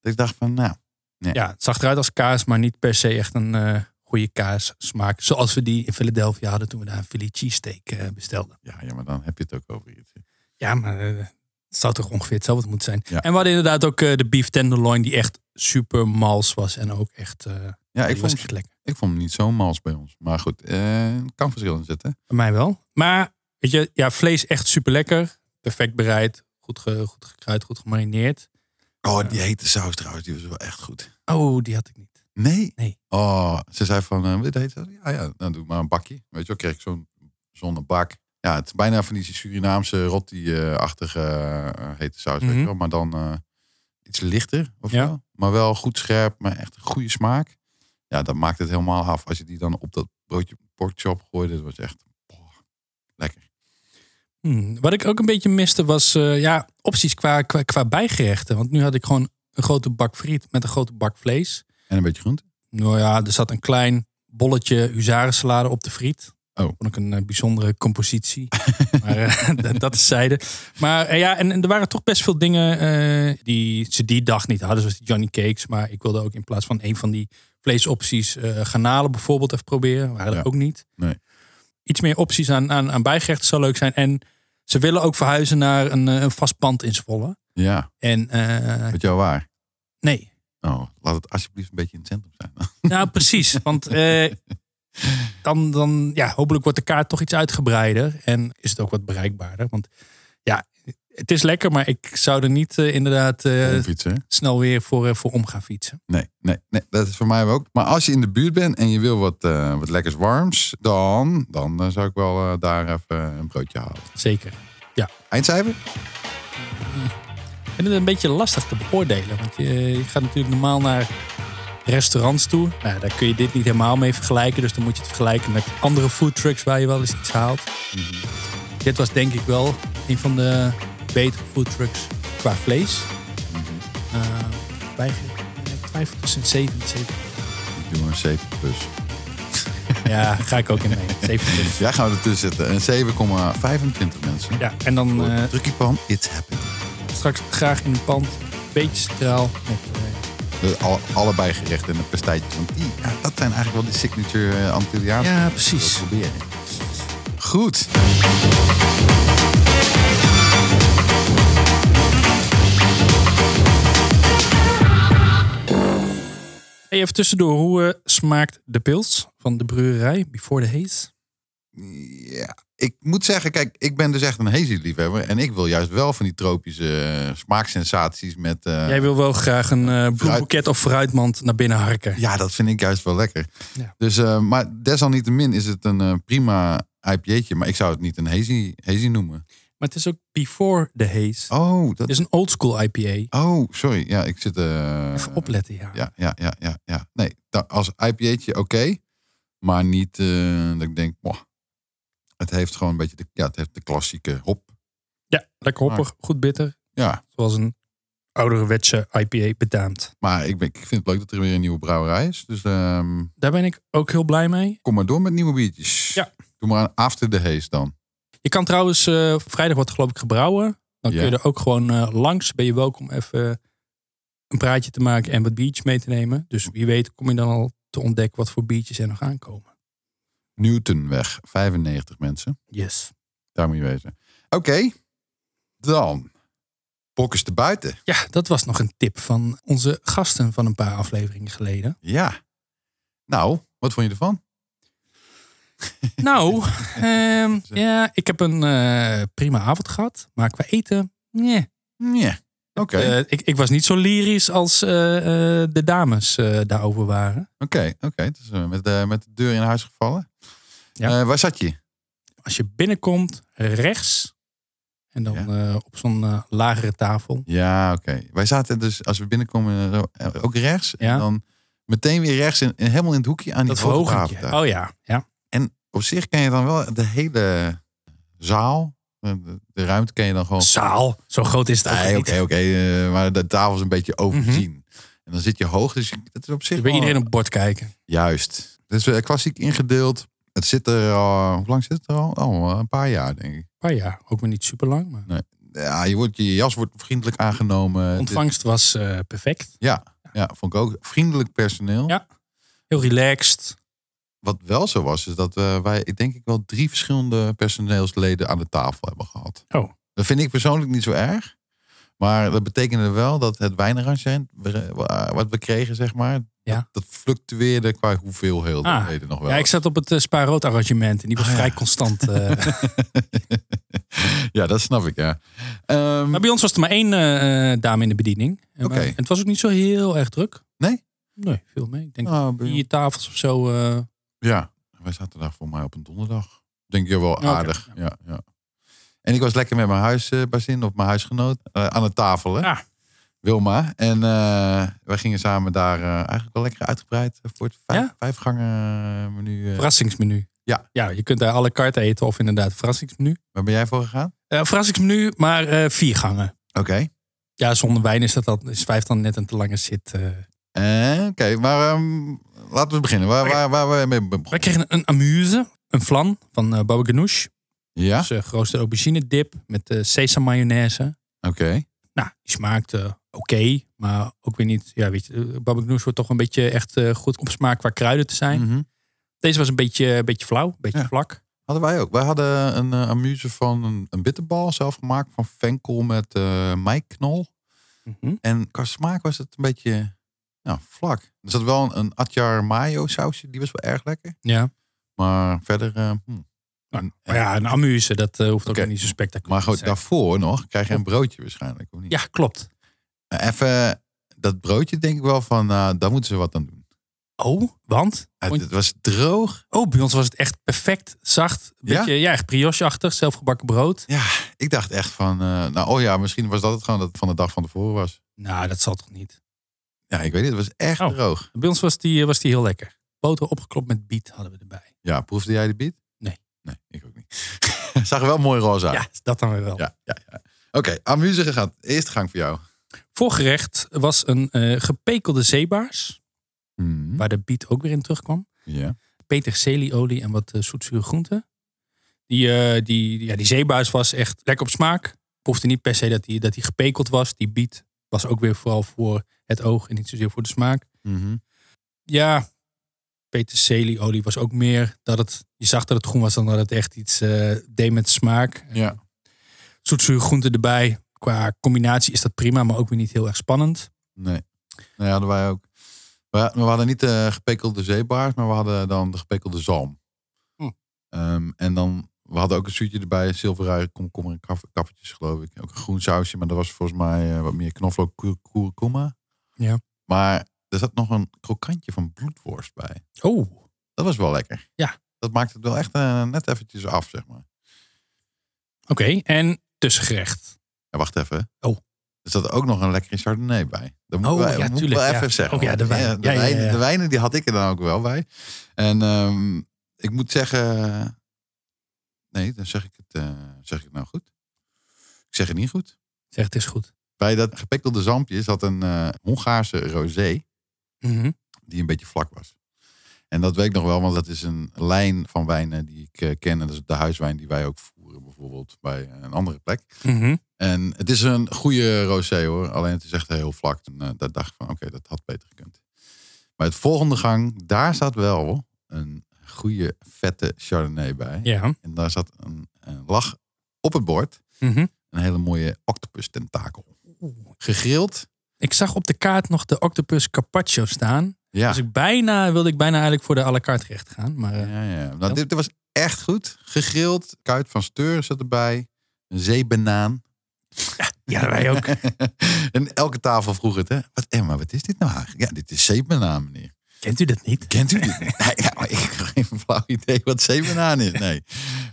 Speaker 1: Dat ik dacht van, nou,
Speaker 2: Ja, het zag eruit als kaas, maar niet per se echt een eh goede kaasmaak. Zoals we die in Philadelphia hadden toen we daar een Philly cheesesteak eh, bestelden.
Speaker 1: ja, ja, maar dan heb je het ook over iets.
Speaker 2: Ja, maar eh, het zou toch ongeveer hetzelfde moeten zijn.
Speaker 1: Ja.
Speaker 2: En we hadden inderdaad ook eh, de beef tenderloin die echt super mals was. En ook echt, eh,
Speaker 1: Ja,
Speaker 2: die
Speaker 1: ik
Speaker 2: was
Speaker 1: vond,
Speaker 2: echt lekker.
Speaker 1: ik vond hem niet zo mals bij ons. Maar goed, eh, kan verschil in zitten.
Speaker 2: Bij mij wel. Maar weet je, ja, vlees echt super lekker. Perfect bereid. Goed, ge, goed gekruid, goed gemarineerd.
Speaker 1: Oh, die hete saus trouwens, die was wel echt goed.
Speaker 2: Oh, die had ik niet.
Speaker 1: Nee?
Speaker 2: Nee.
Speaker 1: Oh, ze zei van, eh, wil je de hete saus? Ja, ja, nou doe maar een bakje. Weet je wel, kreeg ik zo'n zonnebak. Ja, het is bijna van die Surinaamse rotti-achtige eh, hete saus, weet
Speaker 2: Mhm.
Speaker 1: je wel. Maar dan eh, iets lichter of
Speaker 2: Ja.
Speaker 1: zo. Maar wel goed scherp, maar echt een goede smaak. Ja, dat maakt het helemaal af. Als je die dan op dat broodje porkchop gooide, dat was echt boah, lekker.
Speaker 2: Hmm, Wat ik ook een beetje miste was eh, ja, opties qua, qua, qua bijgerechten. Want nu had ik gewoon een grote bak friet met een grote bak vlees.
Speaker 1: En een beetje groente.
Speaker 2: Nou ja, er zat een klein bolletje huzarensalade op de friet.
Speaker 1: Oh.
Speaker 2: Vond ik een eh, bijzondere compositie. <laughs> maar eh, dat- dat is zijde. Maar eh, ja, en, en er waren toch best veel dingen eh, die ze die dag niet hadden. Zoals die Johnny Cakes. Maar ik wilde ook in plaats van een van die vleesopties... eh garnalen bijvoorbeeld even proberen. Waren
Speaker 1: Ja.
Speaker 2: er ook niet.
Speaker 1: Nee.
Speaker 2: Iets meer opties aan, aan, aan bijgerechten zou leuk zijn. En ze willen ook verhuizen naar een, eh, een vast pand in Zwolle.
Speaker 1: Ja,
Speaker 2: En eh,
Speaker 1: met jou waar.
Speaker 2: nee,
Speaker 1: Oh, laat het alsjeblieft een beetje in het centrum <laughs> zijn.
Speaker 2: Nou, precies. Want eh, dan, dan, ja, hopelijk wordt de kaart toch iets uitgebreider. En is het ook wat bereikbaarder. Want ja, het is lekker, maar ik zou er niet eh, inderdaad eh,
Speaker 1: Om fietsen, hè?
Speaker 2: snel weer voor, eh, voor om gaan fietsen.
Speaker 1: Nee, nee, nee, dat is voor mij ook. Maar als je in de buurt bent en je wil wat, eh, wat lekkers warms, dan, dan eh, zou ik wel eh, daar even een broodje halen.
Speaker 2: Zeker.
Speaker 1: Eindcijfer?
Speaker 2: Ik vind het een beetje lastig te beoordelen. Want je, je gaat natuurlijk normaal naar restaurants toe. Nou, daar kun je dit niet helemaal mee vergelijken. Dus dan moet je het vergelijken met andere foodtrucks waar je wel eens iets haalt. Mhm. Dit was denk ik wel een van de betere foodtrucks qua vlees. Eh, wij- ik twijfel tussen 7 en 7.
Speaker 1: Ik doe een 7 plus.
Speaker 2: Ja, ga ik ook <laughs> in mee. 7 plus.
Speaker 1: Ja, gaan we ertussen zitten. Een 7,25 mensen.
Speaker 2: Ja, en dan eh,
Speaker 1: Drukkie pan, it's happening.
Speaker 2: straks graag in een pand. Beetje straal met eh,
Speaker 1: De, al- allebei gerechten en een pastijtje. Want die, ja, dat zijn eigenlijk wel die signature eh, Antilliaanse.
Speaker 2: Ja,
Speaker 1: die ik
Speaker 2: precies.
Speaker 1: wil proberen. Goed.
Speaker 2: Hey, even tussendoor, hoe eh, smaakt de pils van de brewerij Before the Haze?
Speaker 1: Ja, ik moet zeggen, kijk, ik ben dus echt een hazy liefhebber. En ik wil juist wel van die tropische eh, smaaksensaties met... eh,
Speaker 2: Jij wil wel graag een eh bloemboeket of fruitmand naar binnen harken.
Speaker 1: Ja, dat vind ik juist wel lekker.
Speaker 2: Ja.
Speaker 1: Dus, eh, maar desalniettemin is het een eh, prima IPA'tje. Maar ik zou het niet een hazy, hazy noemen.
Speaker 2: Maar het is ook Before the Haze.
Speaker 1: Oh, dat...
Speaker 2: Het is een oldschool IPA.
Speaker 1: Oh, sorry. Ja, ik zit... eh,
Speaker 2: Even opletten, ja.
Speaker 1: Ja, ja, ja, ja, ja. Nee, da- als IPA'tje oké. maar niet eh, dat ik denk, "Mwah." het heeft gewoon een beetje de, ja, het heeft de klassieke hop.
Speaker 2: Ja, lekker hoppig, goed bitter.
Speaker 1: Ja,
Speaker 2: Zoals een ouderwetse IPA betaamt.
Speaker 1: maar ik, ben, ik vind het leuk dat er weer een nieuwe brouwerij is. Dus ehm,
Speaker 2: Daar ben ik ook heel blij mee.
Speaker 1: kom maar door met nieuwe biertjes.
Speaker 2: Ja.
Speaker 1: Doe maar een after the haze dan.
Speaker 2: Je kan trouwens, eh, vrijdag wordt geloof ik gebrouwen. Dan
Speaker 1: Ja.
Speaker 2: kun je er ook gewoon eh, langs. Ben je welkom even een praatje te maken en wat biertjes mee te nemen. Dus wie weet kom je dan al te ontdekken wat voor biertjes er nog aankomen.
Speaker 1: Newtonweg, 95 mensen.
Speaker 2: Yes.
Speaker 1: Daar moet je wezen. Oké, dan. Bokkers te buiten.
Speaker 2: Ja, dat was nog een tip van onze gasten van een paar afleveringen geleden. <laughs>
Speaker 1: Ja. Nou, wat vond je ervan? <laughs>
Speaker 2: Nou, ehm, ja, ik heb een eh, prima avond gehad. Maar qua eten, nee.
Speaker 1: Ja. Oké,
Speaker 2: Eh, ik, ik was niet zo lyrisch als eh, eh, de dames eh, daarover waren.
Speaker 1: oké, oké. Het is, eh, met, eh, met de deur in huis gevallen.
Speaker 2: Ja.
Speaker 1: Eh, waar zat je?
Speaker 2: Als je binnenkomt, rechts. En dan
Speaker 1: Ja.
Speaker 2: eh, op zo'n eh, lagere tafel.
Speaker 1: Ja, oké. Wij zaten dus, als we binnenkomen, eh, zo, eh, ook rechts. En
Speaker 2: Ja.
Speaker 1: dan meteen weer rechts, in, in- helemaal in het hoekje aan die
Speaker 2: Dat verhogentje.
Speaker 1: fotograaf daar.
Speaker 2: Oh ja, ja.
Speaker 1: En op zich ken je dan wel de hele zaal, de, de- de ruimte ken je dan gewoon.
Speaker 2: Zaal. Zo groot is het
Speaker 1: Nee,
Speaker 2: eigenlijk
Speaker 1: Oh. oké, oké. eh, maar de tafel is een beetje overzien.
Speaker 2: Mhm.
Speaker 1: En dan zit je hoog, dus dat is op zich
Speaker 2: niet. Bij
Speaker 1: wel-
Speaker 2: iedereen op het bord kijken.
Speaker 1: Juist. Dus is klassiek ingedeeld. Het zit er al, hoe lang zit het er al? Oh, een paar jaar denk ik.
Speaker 2: Oh ja, ook maar niet super lang.
Speaker 1: Eh,
Speaker 2: Maar
Speaker 1: Ja, je, wordt, je jas wordt vriendelijk aangenomen.
Speaker 2: ontvangst was eh, perfect.
Speaker 1: Ja, vond ik ook. Vriendelijk personeel.
Speaker 2: Ja. Heel relaxed.
Speaker 1: Wat wel zo was, is dat eh, wij denk ik wel drie verschillende personeelsleden aan de tafel hebben gehad.
Speaker 2: Oh.
Speaker 1: Dat vind ik persoonlijk niet zo erg. Maar dat betekende wel dat het wijnarrangement eh, wat we kregen, zeg maar,
Speaker 2: Ja. Ah.
Speaker 1: dat, dat fluctueerde qua hoeveelheden nog wel.
Speaker 2: Ja, ik zat op het uh, spaarrood arrangement. En die was
Speaker 1: Ah, ja.
Speaker 2: vrij constant.
Speaker 1: <laughs>
Speaker 2: eh.
Speaker 1: ja, dat snap ik, ja. Ehm,
Speaker 2: maar bij ons was er maar één eh, eh, dame in de bediening. En
Speaker 1: Oké.
Speaker 2: maar- en het was ook niet zo heel erg druk.
Speaker 1: Nee?
Speaker 2: Nee, veel mee. Ik denk
Speaker 1: nou, bij-
Speaker 2: vier tafels of zo. eh,
Speaker 1: ja, wij zaten daar voor mij op een donderdag. Denk je wel
Speaker 2: Oké,
Speaker 1: aardig. Ja, ja. En ik was lekker met mijn huisbazin of mijn huisgenoot eh, aan de tafel, hè?
Speaker 2: Ja.
Speaker 1: Wilma. En eh, wij gingen samen daar eh, eigenlijk wel lekker uitgebreid voor het vijf,
Speaker 2: Ja?
Speaker 1: vijfgangen menu. eh.
Speaker 2: verrassingsmenu.
Speaker 1: Ja.
Speaker 2: ja, je kunt daar alle kaarten eten of inderdaad verrassingsmenu.
Speaker 1: Waar ben jij voor gegaan?
Speaker 2: Eh, verrassingsmenu, maar eh, vier gangen.
Speaker 1: Oké.
Speaker 2: Ja, zonder wijn is, dat dan, is vijf dan net een te lange zit. eh.
Speaker 1: Eh, Oké, maar ehm, laten we beginnen. Waar, waar, waar we mee begonnen?
Speaker 2: Wij kregen een amuse, een flan van eh Baba Ganoush.
Speaker 1: Ja,
Speaker 2: Dus eh, geroosterde aubergine dip met eh sesam mayonaise.
Speaker 1: oké.
Speaker 2: Nou, die smaakte oké, maar ook weer niet. Ja, weet je, eh, Baba Ganoush wordt toch een beetje echt eh, goed op smaak qua kruiden te zijn.
Speaker 1: Mhm.
Speaker 2: Deze was een beetje, een beetje flauw, een beetje
Speaker 1: Ja.
Speaker 2: vlak.
Speaker 1: Hadden wij ook. Wij hadden een eh, amuse van een, een bitterbal zelf gemaakt van Venkel met eh meiknol. En qua smaak was het een beetje ja, vlak. Er zat wel een, een atjar mayo sausje, die was wel erg lekker.
Speaker 2: Ja.
Speaker 1: Maar verder, eh, hm.
Speaker 2: Nou, maar ja, een amuse, dat eh, hoeft ook
Speaker 1: Oké.
Speaker 2: niet zo spectaculair
Speaker 1: maar goed,
Speaker 2: te zijn.
Speaker 1: daarvoor nog krijg je een broodje waarschijnlijk. Of niet?
Speaker 2: Ja, klopt.
Speaker 1: Nou, even dat broodje denk ik wel van, eh, daar moeten ze wat aan doen.
Speaker 2: Oh, want?
Speaker 1: Het,
Speaker 2: Want-
Speaker 1: het was droog.
Speaker 2: Oh, bij ons was het echt perfect zacht.
Speaker 1: Ja?
Speaker 2: Beetje, ja? echt brioche-achtig, zelfgebakken brood.
Speaker 1: Ja, ik dacht echt van, eh, nou oh ja, misschien was dat het gewoon dat het van de dag van tevoren was.
Speaker 2: Nou, dat zal toch niet.
Speaker 1: Ja, ik weet niet, het was echt
Speaker 2: Oh.
Speaker 1: droog.
Speaker 2: Bij ons was die, eh, was die heel lekker. Boter opgeklopt met biet hadden we erbij.
Speaker 1: Ja, proefde jij de biet?
Speaker 2: Nee.
Speaker 1: Nee, ik ook niet. <laughs> Zag er wel mooi roze uit.
Speaker 2: Ja, dat dan weer wel.
Speaker 1: ja, ja. ja. Oké, amuse gegaan. Eerste gang voor jou.
Speaker 2: Voorgerecht was een eh, gepekelde zeebaars,
Speaker 1: Mhm.
Speaker 2: waar de biet ook weer in terugkwam.
Speaker 1: Ja.
Speaker 2: Peterselieolie en wat eh, zoetzure groenten. Die, eh, die, ja, die zeebaars was echt lekker op smaak. Ik hoefde niet per se dat die, dat die gepekeld was. Die biet was ook weer vooral voor het oog en niet zozeer voor de smaak.
Speaker 1: Mhm.
Speaker 2: ja, peterselieolie was ook meer dat het, je zag dat het groen was dan dat het echt iets eh, deed met smaak.
Speaker 1: Ja.
Speaker 2: Zoetzuur groente erbij. Qua combinatie is dat prima, maar ook weer niet heel erg spannend.
Speaker 1: Nee. Nou Nee, hadden wij ook. We, we hadden niet de gepekelde zeebaars, maar we hadden dan de gepekelde zalm.
Speaker 2: Hm.
Speaker 1: Ehm, en dan, we hadden ook een zuurtje erbij, zilverrij, komkommer en kaf, kaffertjes geloof ik. Ook een groen sausje, maar dat was volgens mij eh, wat meer knoflook, kur- kurkuma.
Speaker 2: Ja.
Speaker 1: Maar er zat nog een krokantje van bloedworst bij.
Speaker 2: Oh,
Speaker 1: Dat was wel lekker.
Speaker 2: Ja.
Speaker 1: Dat maakt het wel echt eh, net eventjes af, zeg maar.
Speaker 2: oké. En tussengerecht.
Speaker 1: Ja, wacht even.
Speaker 2: Oh.
Speaker 1: Er zat ook nog een lekkere Chardonnay bij. Dat moeten
Speaker 2: Oh,
Speaker 1: wij,
Speaker 2: ja,
Speaker 1: moeten
Speaker 2: tuurlijk,
Speaker 1: wel
Speaker 2: ja.
Speaker 1: even zeggen.
Speaker 2: Oh, ja, de
Speaker 1: want,
Speaker 2: wijn.
Speaker 1: eh, de,
Speaker 2: Ja, ja,
Speaker 1: wijnen,
Speaker 2: ja.
Speaker 1: de wijnen, die had ik er dan ook wel bij. En ehm, ik moet zeggen... Nee, dan zeg ik het, eh, zeg ik het nou goed. Ik zeg het niet goed.
Speaker 2: Zeg, het is goed.
Speaker 1: Bij dat gepekkelde zampje zat een eh, Hongaarse rosé
Speaker 2: Mhm.
Speaker 1: die een beetje vlak was. En dat weet ik nog wel, want dat is een lijn van wijnen die ik eh, ken. En dat is de huiswijn die wij ook voeren bijvoorbeeld bij een andere plek.
Speaker 2: Mhm.
Speaker 1: En het is een goede rosé hoor. Alleen het is echt heel vlak. En eh, daar dacht ik van, oké, dat had beter gekund. Maar het volgende gang, daar zat wel een goede vette Chardonnay bij.
Speaker 2: Ja.
Speaker 1: En daar zat een, een lach op het bord.
Speaker 2: Mhm.
Speaker 1: Een hele mooie octopus tentakel. Gegrild.
Speaker 2: Ik zag op de kaart nog de octopus carpaccio staan.
Speaker 1: Ja.
Speaker 2: Dus ik bijna, wilde ik bijna eigenlijk voor de à la carte gerecht gaan. Maar eh,
Speaker 1: Ja, ja. Nou, dit, dit was echt goed. Gegrild. Kuit van Steur zat erbij. Een zeebanaan.
Speaker 2: <laughs> ja, wij ook.
Speaker 1: <laughs> en elke tafel vroeg het, hè? Wat, Emma, wat is dit nou eigenlijk? Ja, dit is zeebanaan, meneer.
Speaker 2: <laughs> Kent u dat niet?
Speaker 1: Kent
Speaker 2: <laughs>
Speaker 1: u dit? Nee, ja, maar ik heb geen flauw idee wat zeebanaan is. Nee.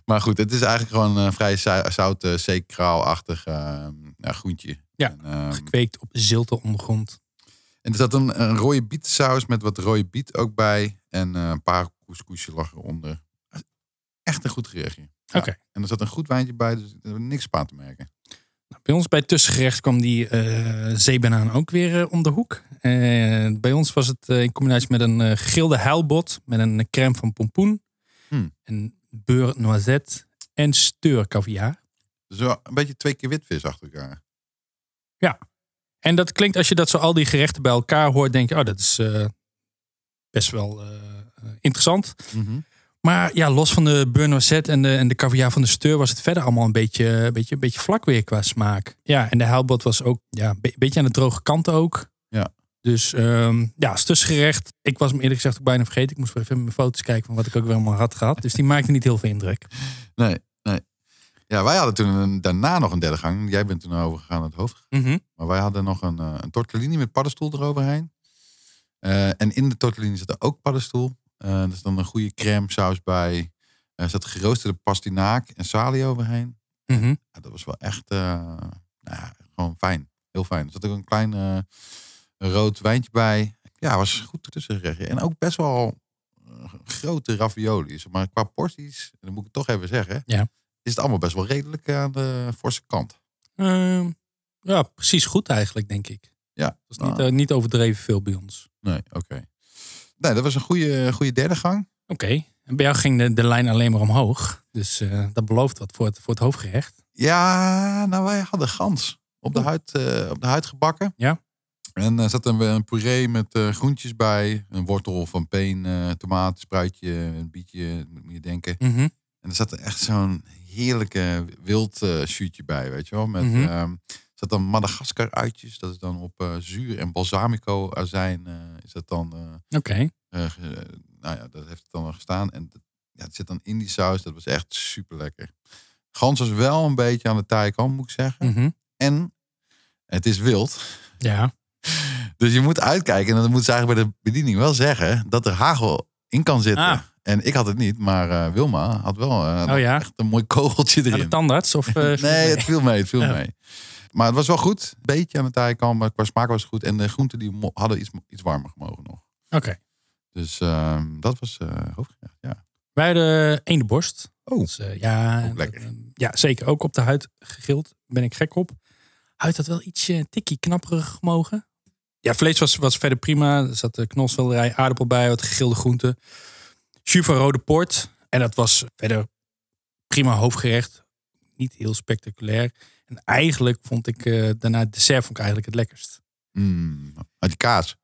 Speaker 1: Maar goed, het is eigenlijk gewoon een vrij zou- zout, eh, zeekraalachtig eh, ja, groentje.
Speaker 2: Ja,
Speaker 1: En, ehm,
Speaker 2: Gekweekt op zilte ondergrond.
Speaker 1: en er zat een, een rode bietsaus met wat rode biet ook bij. En eh, een paar couscousje lag eronder. Echt een goed gerechtje. Ja.
Speaker 2: Oké.
Speaker 1: En er zat een goed wijntje bij, dus er was niks op aan te merken.
Speaker 2: Nou, Bij ons bij tussengerecht kwam die eh zeebanaan ook weer eh, om de hoek. Eh, bij ons was het eh, in combinatie met een eh gegrilde huilbot met een crème van pompoen.
Speaker 1: Hmm.
Speaker 2: En beurre noisette en steurkaviaar.
Speaker 1: Dus wel een beetje twee keer witvis achter elkaar.
Speaker 2: En dat klinkt als je dat zo al die gerechten bij elkaar hoort, denk je, oh, dat is eh, best wel eh, eh, interessant. Maar ja, los van de beurre noisette en de, en de caviar van de steur was het verder allemaal een beetje, een beetje, een beetje vlak weer qua smaak. Ja, en de huilbot was ook ja, een be- beetje aan de droge kant ook.
Speaker 1: Ja.
Speaker 2: Dus ehm, ja, als tussengerecht. Ik was hem eerlijk gezegd ook bijna vergeten. Ik moest weer even mijn foto's kijken van wat ik ook weer allemaal had gehad. Dus die maakte niet heel veel indruk.
Speaker 1: Nee, nee. Ja, wij hadden toen een- daarna nog een derde gang. Jij bent toen overgegaan naar het hoofd.
Speaker 2: Mhm.
Speaker 1: Maar wij hadden nog een, eh, een tortellini met paddenstoel eroverheen. Eh, en in de tortellini zat er ook paddenstoel. Eh er is dan een goede crème saus bij. Eh, Er zat geroosterde pastinaak en salie overheen.
Speaker 2: Mhm.
Speaker 1: Ja, dat was wel echt eh, nou ja, gewoon fijn. Heel fijn. Er zat ook een klein eh, rood wijntje bij. Ja, was goed tussengerechtje. En ook best wel eh, grote ravioli. Zeg Maar qua porties, en dat moet ik toch even zeggen...
Speaker 2: Ja.
Speaker 1: is het allemaal best wel redelijk aan de forse kant.
Speaker 2: Ehm, Ja, precies goed eigenlijk, denk ik.
Speaker 1: Ja,
Speaker 2: Dat is
Speaker 1: nou,
Speaker 2: niet, eh, niet overdreven veel bij ons.
Speaker 1: nee, oké. Nee, dat was een goede, goede derde gang.
Speaker 2: Oké. En bij jou ging de, de lijn alleen maar omhoog. Dus eh, dat belooft wat voor het, voor het hoofdgerecht.
Speaker 1: Ja, nou wij hadden gans op de
Speaker 2: Oeh.
Speaker 1: huid, eh, op de huid gebakken.
Speaker 2: Oh. Ja.
Speaker 1: En daar zat een, een puree met eh, groentjes bij. Een wortel van peen, eh, tomaat, spruitje, een bietje, moet je denken.
Speaker 2: Mhm.
Speaker 1: En er zat er echt zo'n heerlijke wild eh shootje bij, weet je wel. Met,
Speaker 2: Mhm.
Speaker 1: ehm, zat dan Madagaskar uitjes. Dat is dan op eh, zuur en balsamico azijn. eh, is dat dan... eh,
Speaker 2: Oké.
Speaker 1: eh, ge- eh, nou ja, dat heeft het dan al gestaan. En dat- ja, het zit dan in die saus. Dat was echt super lekker. Gans was wel een beetje aan de taaikant, moet ik zeggen.
Speaker 2: Mhm.
Speaker 1: En het is wild.
Speaker 2: Ja.
Speaker 1: Dus je moet uitkijken. En dan moeten ze eigenlijk bij de bediening wel zeggen dat er hagel in kan zitten.
Speaker 2: Ah.
Speaker 1: En ik had het niet, maar eh, Wilma had wel eh,
Speaker 2: Oh ja.
Speaker 1: echt een mooi kogeltje
Speaker 2: Naar
Speaker 1: erin.
Speaker 2: de tandarts? Of, eh,
Speaker 1: <laughs> nee, het viel mee, het viel
Speaker 2: Ja.
Speaker 1: mee. Maar het was wel goed. Een beetje aan de taaikant, maar qua smaak was het goed. En de groenten die mo- hadden iets, iets warmer gemogen nog.
Speaker 2: Oké.
Speaker 1: Dus ehm, dat was eh hoofdgerecht, ja.
Speaker 2: Wij hadden eendenborst.
Speaker 1: Oh.
Speaker 2: Dus, eh, ja,
Speaker 1: Ook lekker.
Speaker 2: dat, eh, ja, zeker. Ook op de huid gegild. Ben ik gek op. Huid had wel iets eh, tikkie knapperig mogen. Ja, vlees was, was verder prima. Er zat de knolselderij, aardappel bij, wat gegilde groenten. Jus van rode port. En dat was verder prima hoofdgerecht. Niet heel spectaculair. En eigenlijk vond ik eh, daarna het dessert vond ik eigenlijk het lekkerst.
Speaker 1: Mm, uit die kaas.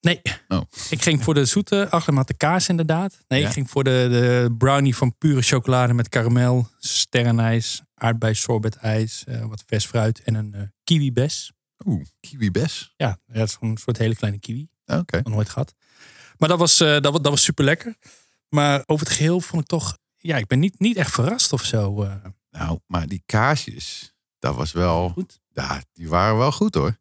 Speaker 2: Nee.
Speaker 1: Oh.
Speaker 2: Ik ging voor de zoete aglemate kaas inderdaad. Nee,
Speaker 1: Ja.
Speaker 2: ik ging voor de, de brownie van pure chocolade met karamel, sterrenijs, aardbei sorbetijs, eh, wat vers fruit en een kiwi kiwibes.
Speaker 1: Oeh, kiwi bes.
Speaker 2: Ja, dat is gewoon een soort hele kleine kiwi.
Speaker 1: Oké.
Speaker 2: Nog nooit gehad. Maar dat was, eh, dat, wa- dat was super lekker. Maar over het geheel vond ik toch... Ja, ik ben niet, niet echt verrast of zo. eh.
Speaker 1: Nou, maar die kaasjes, dat was wel...
Speaker 2: Goed.
Speaker 1: Ja, die waren wel goed hoor.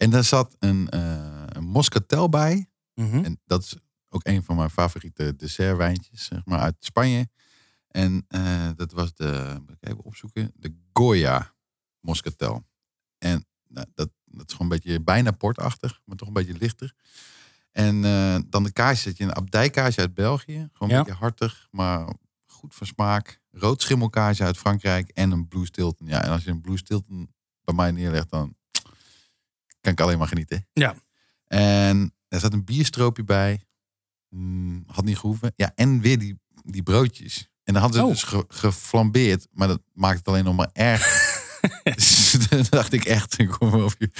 Speaker 1: En daar zat een, eh een moscatel bij.
Speaker 2: Mhm.
Speaker 1: En dat is ook een van mijn favoriete dessertwijntjes, zeg maar, uit Spanje. En eh, dat was de, moet ik even opzoeken, de Goya Moscatel. En nou, dat, dat is gewoon een beetje bijna portachtig, maar toch een beetje lichter. En eh, dan de kaas zit je een abdijkaas uit België. Gewoon een
Speaker 2: Ja.
Speaker 1: beetje hartig, maar goed van smaak. Rood schimmelkaasje uit Frankrijk en een Blue Stilton. Ja, en als je een Blue Stilton bij mij neerlegt, dan kan ik alleen maar genieten.
Speaker 2: Ja.
Speaker 1: En er zat een bierstroopje bij. Mm, had niet gehoeven. Ja, en weer die, die broodjes. En dan hadden ze
Speaker 2: Oh.
Speaker 1: dus ge- geflambeerd. Maar dat maakt het alleen nog maar
Speaker 2: <laughs>
Speaker 1: erg. dus <laughs> toen dacht ik echt, kom maar op je.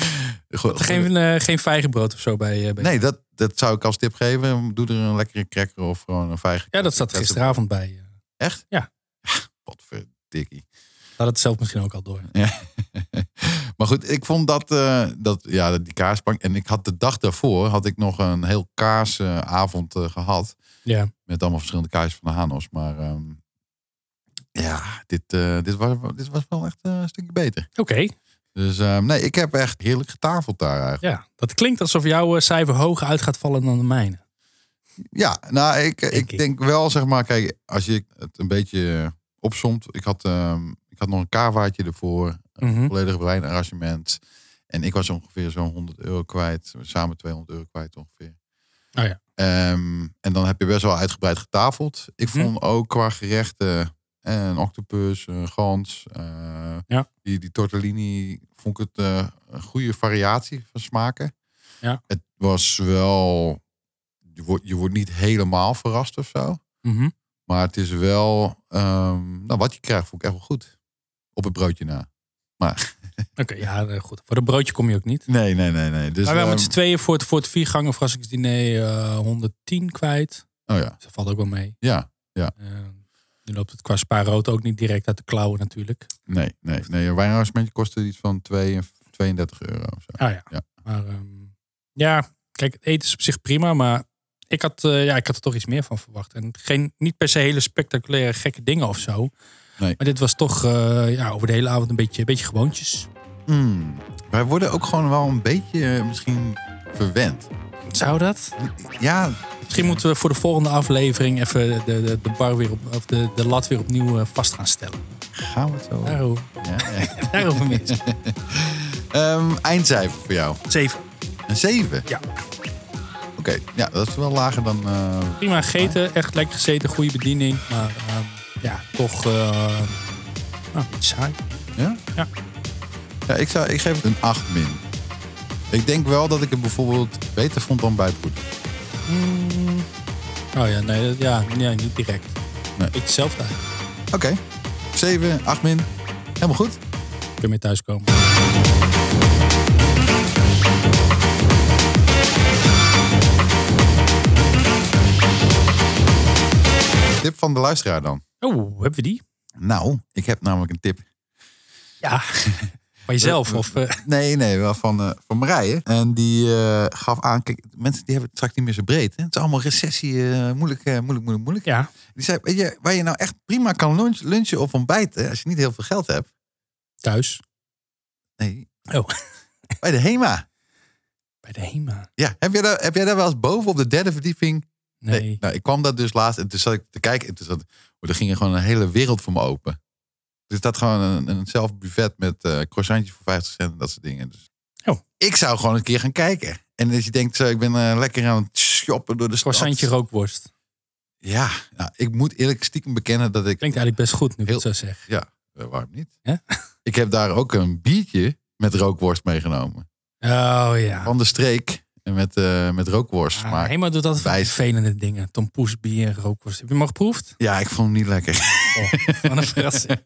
Speaker 1: Gewoon-
Speaker 2: Geen, eh, geen vijgenbrood of zo bij... eh, bij-
Speaker 1: Nee, dat, dat zou ik als tip geven. Doe er een lekkere cracker of gewoon een vijf.
Speaker 2: Ja, dat zat gisteravond bij. eh.
Speaker 1: Echt?
Speaker 2: Ja.
Speaker 1: Wat verdikkie.
Speaker 2: Had het zelf misschien ook al door.
Speaker 1: <laughs> maar goed, ik vond dat, eh, dat ja, die kaasbank. En ik had de dag daarvoor had ik nog een heel kaasavond eh, gehad.
Speaker 2: Ja.
Speaker 1: Met allemaal verschillende kaasjes van de Hanos. Maar ehm, ja, dit, eh, dit, was, dit was wel echt eh, een stukje beter.
Speaker 2: Oké,
Speaker 1: Dus ehm, nee, ik heb echt heerlijk getafeld daar eigenlijk.
Speaker 2: ja. Dat klinkt alsof jouw eh, cijfer hoger uit gaat vallen dan de mijne.
Speaker 1: Ja, nou, ik, ik,
Speaker 2: ik.
Speaker 1: denk wel, zeg maar, kijk, als je het een beetje eh, opsomt. Ik had, ehm, ik had nog een kawaatje ervoor.
Speaker 2: Mhm.
Speaker 1: volledig wijnarrangement. En ik was ongeveer zo'n 100 euro kwijt. Samen 200 euro kwijt ongeveer.
Speaker 2: Oh ja.
Speaker 1: Ehm, en dan heb je best wel uitgebreid getafeld. Ik
Speaker 2: Mhm.
Speaker 1: vond ook qua gerechten eh, een octopus, een gans. eh,
Speaker 2: Ja.
Speaker 1: die, die tortellini vond ik het eh, een goede variatie van smaken.
Speaker 2: Ja.
Speaker 1: Het was wel... Je wordt, je wordt niet helemaal verrast of zo.
Speaker 2: Mhm.
Speaker 1: Maar het is wel... ehm, nou, wat je krijgt vond ik echt wel goed. Op het broodje na.
Speaker 2: Oké, ja, eh, goed. Voor een broodje kom je ook niet.
Speaker 1: Nee, nee, nee, nee. Dus,
Speaker 2: maar wij waren met
Speaker 1: ehm,
Speaker 2: z'n tweeën voor het, voor het viergangen verrassingsdiner eh 110 kwijt.
Speaker 1: Oh ja,
Speaker 2: Dus dat valt ook wel mee.
Speaker 1: ja.
Speaker 2: Eh, nu loopt het qua spaarrood ook niet direct uit de klauwen natuurlijk.
Speaker 1: Nee, nee, nee. Een wijnarrangementje kostte iets van 2 en 32 euro of zo.
Speaker 2: Ah ja.
Speaker 1: Ja.
Speaker 2: Maar ehm, ja, kijk, het eten is op zich prima, maar ik had, eh, ja, ik had er toch iets meer van verwacht. En geen, niet per se hele spectaculaire gekke dingen of zo.
Speaker 1: Nee.
Speaker 2: Maar dit was toch eh, ja, over de hele avond een beetje, een beetje gewoontjes.
Speaker 1: Hmm. Wij worden ook gewoon wel een beetje eh, misschien verwend.
Speaker 2: Zou dat?
Speaker 1: Ja,
Speaker 2: Misschien moeten we voor de volgende aflevering even de, de, de bar weer op, of de, de lat weer opnieuw eh, vast gaan stellen.
Speaker 1: gaan we het zo.
Speaker 2: Daarom,
Speaker 1: Ja, ja.
Speaker 2: daarover mis. <laughs>
Speaker 1: Ehm, eindcijfer voor jou.
Speaker 2: Zeven.
Speaker 1: Een 7.
Speaker 2: Ja.
Speaker 1: Oké, ja, dat is wel lager dan... eh,
Speaker 2: Prima gegeten, echt lekker gezeten, goede bediening. Maar ehm, ja, toch eh nou, iets ah, saai.
Speaker 1: ja?
Speaker 2: Ja.
Speaker 1: Ja, ik, zou, ik geef het een 8 min. Ik denk wel dat ik het bijvoorbeeld beter vond dan bij het broeder.
Speaker 2: Oh ja, nee, dat- ja, nee, niet direct.
Speaker 1: Nee.
Speaker 2: Ik zelf daar.
Speaker 1: Oké. 7, 8 min. Helemaal goed.
Speaker 2: Kun je mee thuiskomen.
Speaker 1: Tip van de luisteraar dan.
Speaker 2: Oh, hebben we die?
Speaker 1: Nou, ik heb namelijk een tip.
Speaker 2: <laughs> Ja. Van jezelf? Of, eh,
Speaker 1: Nee, nee, wel van, eh, van Marije. En die eh, gaf aan, kijk, mensen die hebben het straks niet meer zo breed. Hè? Het is allemaal recessie, eh, moeilijk, eh, moeilijk, moeilijk, moeilijk.
Speaker 2: <laughs> ja.
Speaker 1: Die zei, weet je, waar je nou echt prima kan lunch- lunchen of ontbijten, als je niet heel veel geld hebt.
Speaker 2: Thuis.
Speaker 1: Nee.
Speaker 2: Oh.
Speaker 1: Bij de HEMA.
Speaker 2: Bij de HEMA.
Speaker 1: Ja, heb jij, daar, heb jij daar wel eens boven op de derde verdieping?
Speaker 2: Nee.
Speaker 1: Nou, ik kwam daar dus laatst en toen zat ik te kijken. En toen zat, oh, er ging er gewoon een hele wereld voor me open. Er staat gewoon een, een zelf buffet met eh croissantje voor 50 cent en dat soort dingen. Dus
Speaker 2: Oh.
Speaker 1: Ik zou gewoon een keer gaan kijken. En als je denkt, zo, ik ben eh, lekker aan het shoppen door de stad.
Speaker 2: Croissantje rookworst.
Speaker 1: Ja, nou, ik moet eerlijk stiekem bekennen dat ik...
Speaker 2: Klinkt eigenlijk best goed nu ik
Speaker 1: Heel-
Speaker 2: het zo zeg.
Speaker 1: Eh, waarom niet?
Speaker 2: Ja?
Speaker 1: Ik heb daar ook een biertje met rookworst meegenomen.
Speaker 2: Oh ja.
Speaker 1: Van de streek en met, eh, met rookworst.
Speaker 2: Ah,
Speaker 1: maar
Speaker 2: HEMA doet altijd van die
Speaker 1: wijs.
Speaker 2: vervelende dingen. Tompoes, bier, rookworst. Heb je hem al geproefd?
Speaker 1: ja, ik vond hem niet lekker. <laughs>
Speaker 2: <laughs> Van een verrassing.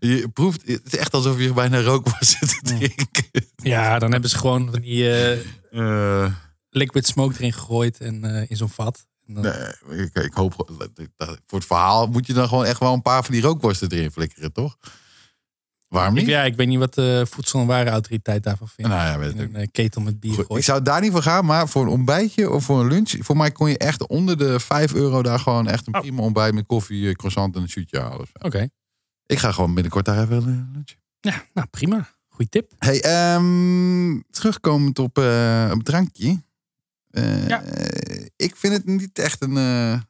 Speaker 1: je proeft, het is echt alsof je bijna rookworst zit te
Speaker 2: Ja.
Speaker 1: drinken.
Speaker 2: Ja, dan hebben ze gewoon van die eh,
Speaker 1: Eh,
Speaker 2: liquid smoke erin gegooid en eh, in zo'n vat. En dan-
Speaker 1: nee, ik, ik hoop, dat- voor het verhaal moet je dan gewoon echt wel een paar van die rookworsten erin flikkeren, toch? Waarom
Speaker 2: ik,
Speaker 1: niet?
Speaker 2: ja, ik weet niet wat de voedsel- en warenautoriteit daarvan vindt.
Speaker 1: Nou ja, weet ik
Speaker 2: In
Speaker 1: ook
Speaker 2: een eh, ketel met bier
Speaker 1: Goed, ik
Speaker 2: gooit.
Speaker 1: zou daar niet voor gaan, maar voor een ontbijtje of voor een lunch. Voor mij kon je echt onder de 5 euro daar gewoon echt een
Speaker 2: Oh.
Speaker 1: prima ontbijt met koffie, eh, croissant en een shootje halen. of zo.
Speaker 2: Oké.
Speaker 1: Ik ga gewoon binnenkort daar even een lunch.
Speaker 2: Ja, nou prima. Goeie tip.
Speaker 1: Hey, ehm, terugkomend op eh, op het drankje. Eh,
Speaker 2: Ja.
Speaker 1: Ik vind het niet echt een, eh,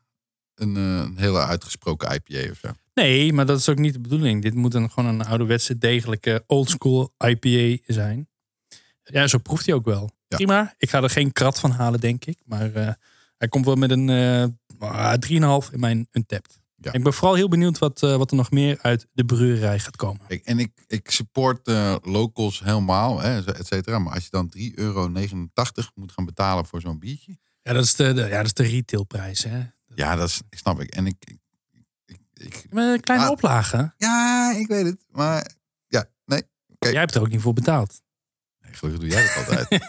Speaker 1: een, eh, een hele uitgesproken IPA of zo.
Speaker 2: Nee, maar dat is ook niet de bedoeling. Dit moet een, gewoon een ouderwetse, degelijke, oldschool IPA zijn. Ja, zo proeft hij ook wel.
Speaker 1: Ja.
Speaker 2: Prima. Ik ga er geen krat van halen, denk ik. Maar eh, hij komt wel met een eh, ah, 3,5 in mijn Untapped.
Speaker 1: Ja.
Speaker 2: Ik ben vooral heel benieuwd wat, eh, wat er nog meer uit de breurij gaat komen.
Speaker 1: Kijk, en ik, ik support eh, locals helemaal, hè, et cetera. Maar als je dan 3,89 euro moet gaan betalen voor zo'n biertje.
Speaker 2: Ja, dat is de, de- ja, dat is de retailprijs. Hè?
Speaker 1: Ja, dat is, snap ik. En ik, ik, ik, ik-
Speaker 2: Met een eh, kleine
Speaker 1: Ah.
Speaker 2: oplage.
Speaker 1: Ja, ik weet het. Maar ja, nee.
Speaker 2: Jij hebt er ook niet voor betaald.
Speaker 1: nee gelukkig doe jij dat altijd.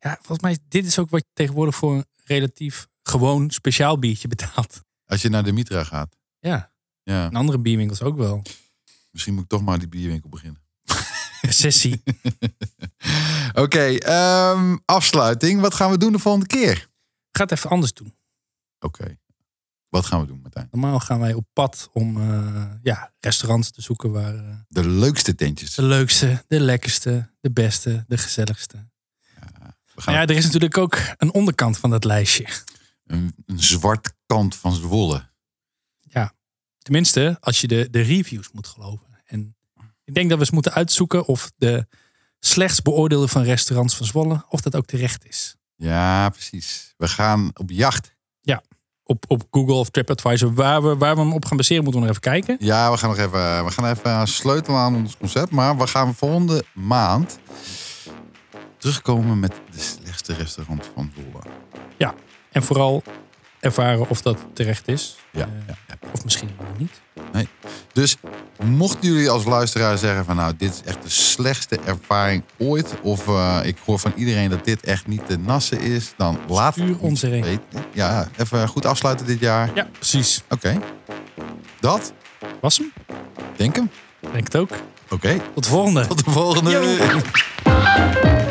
Speaker 2: Ja, volgens mij, is- dit is ook wat je tegenwoordig voor een relatief gewoon speciaal biertje
Speaker 1: <laughs>
Speaker 2: betaalt.
Speaker 1: Als je naar de Mitra gaat.
Speaker 2: Ja,
Speaker 1: Ja,
Speaker 2: en andere bierwinkels ook wel.
Speaker 1: misschien moet ik toch maar die bierwinkel beginnen. <laughs>
Speaker 2: Recessie.
Speaker 1: Oké, ehm, afsluiting. Wat gaan we doen de volgende keer?
Speaker 2: Ga het even anders doen.
Speaker 1: Oké. Wat gaan we doen, Martijn?
Speaker 2: Normaal gaan wij op pad om eh, ja, restaurants te zoeken waar eh,
Speaker 1: De leukste tentjes.
Speaker 2: de leukste, de lekkerste, de beste, de gezelligste.
Speaker 1: We gaan
Speaker 2: Maar ja, er is natuurlijk ook een onderkant van dat lijstje.
Speaker 1: een, een zwart kant van Zwolle.
Speaker 2: Tenminste, als je de, de reviews moet geloven. En ik denk dat we eens moeten uitzoeken of de slechts beoordeelde van restaurants van Zwolle, of dat ook terecht is.
Speaker 1: Ja, precies. We gaan op jacht.
Speaker 2: op, op Google of TripAdvisor, waar we, waar we hem op gaan baseren, moeten we nog even kijken.
Speaker 1: Ja, we gaan nog even, we gaan even sleutelen aan ons concept. Maar we gaan volgende maand terugkomen met de slechtste restaurant van Zwolle.
Speaker 2: En vooral ervaren of dat terecht is.
Speaker 1: Ja,
Speaker 2: Eh,
Speaker 1: ja,
Speaker 2: Of misschien helemaal niet.
Speaker 1: Dus mochten jullie als luisteraar zeggen van nou, dit is echt de slechtste ervaring ooit. Of eh, ik hoor van iedereen dat dit echt niet te nassen is. Dan laat
Speaker 2: Stuur
Speaker 1: het
Speaker 2: ons erin.
Speaker 1: weten. Ja, even goed afsluiten dit jaar.
Speaker 2: Ja, precies.
Speaker 1: Oké. Dat,
Speaker 2: Was hem?
Speaker 1: denk hem.
Speaker 2: Denk het ook.
Speaker 1: Oké,
Speaker 2: Tot de volgende.
Speaker 1: tot de volgende.
Speaker 2: Yo.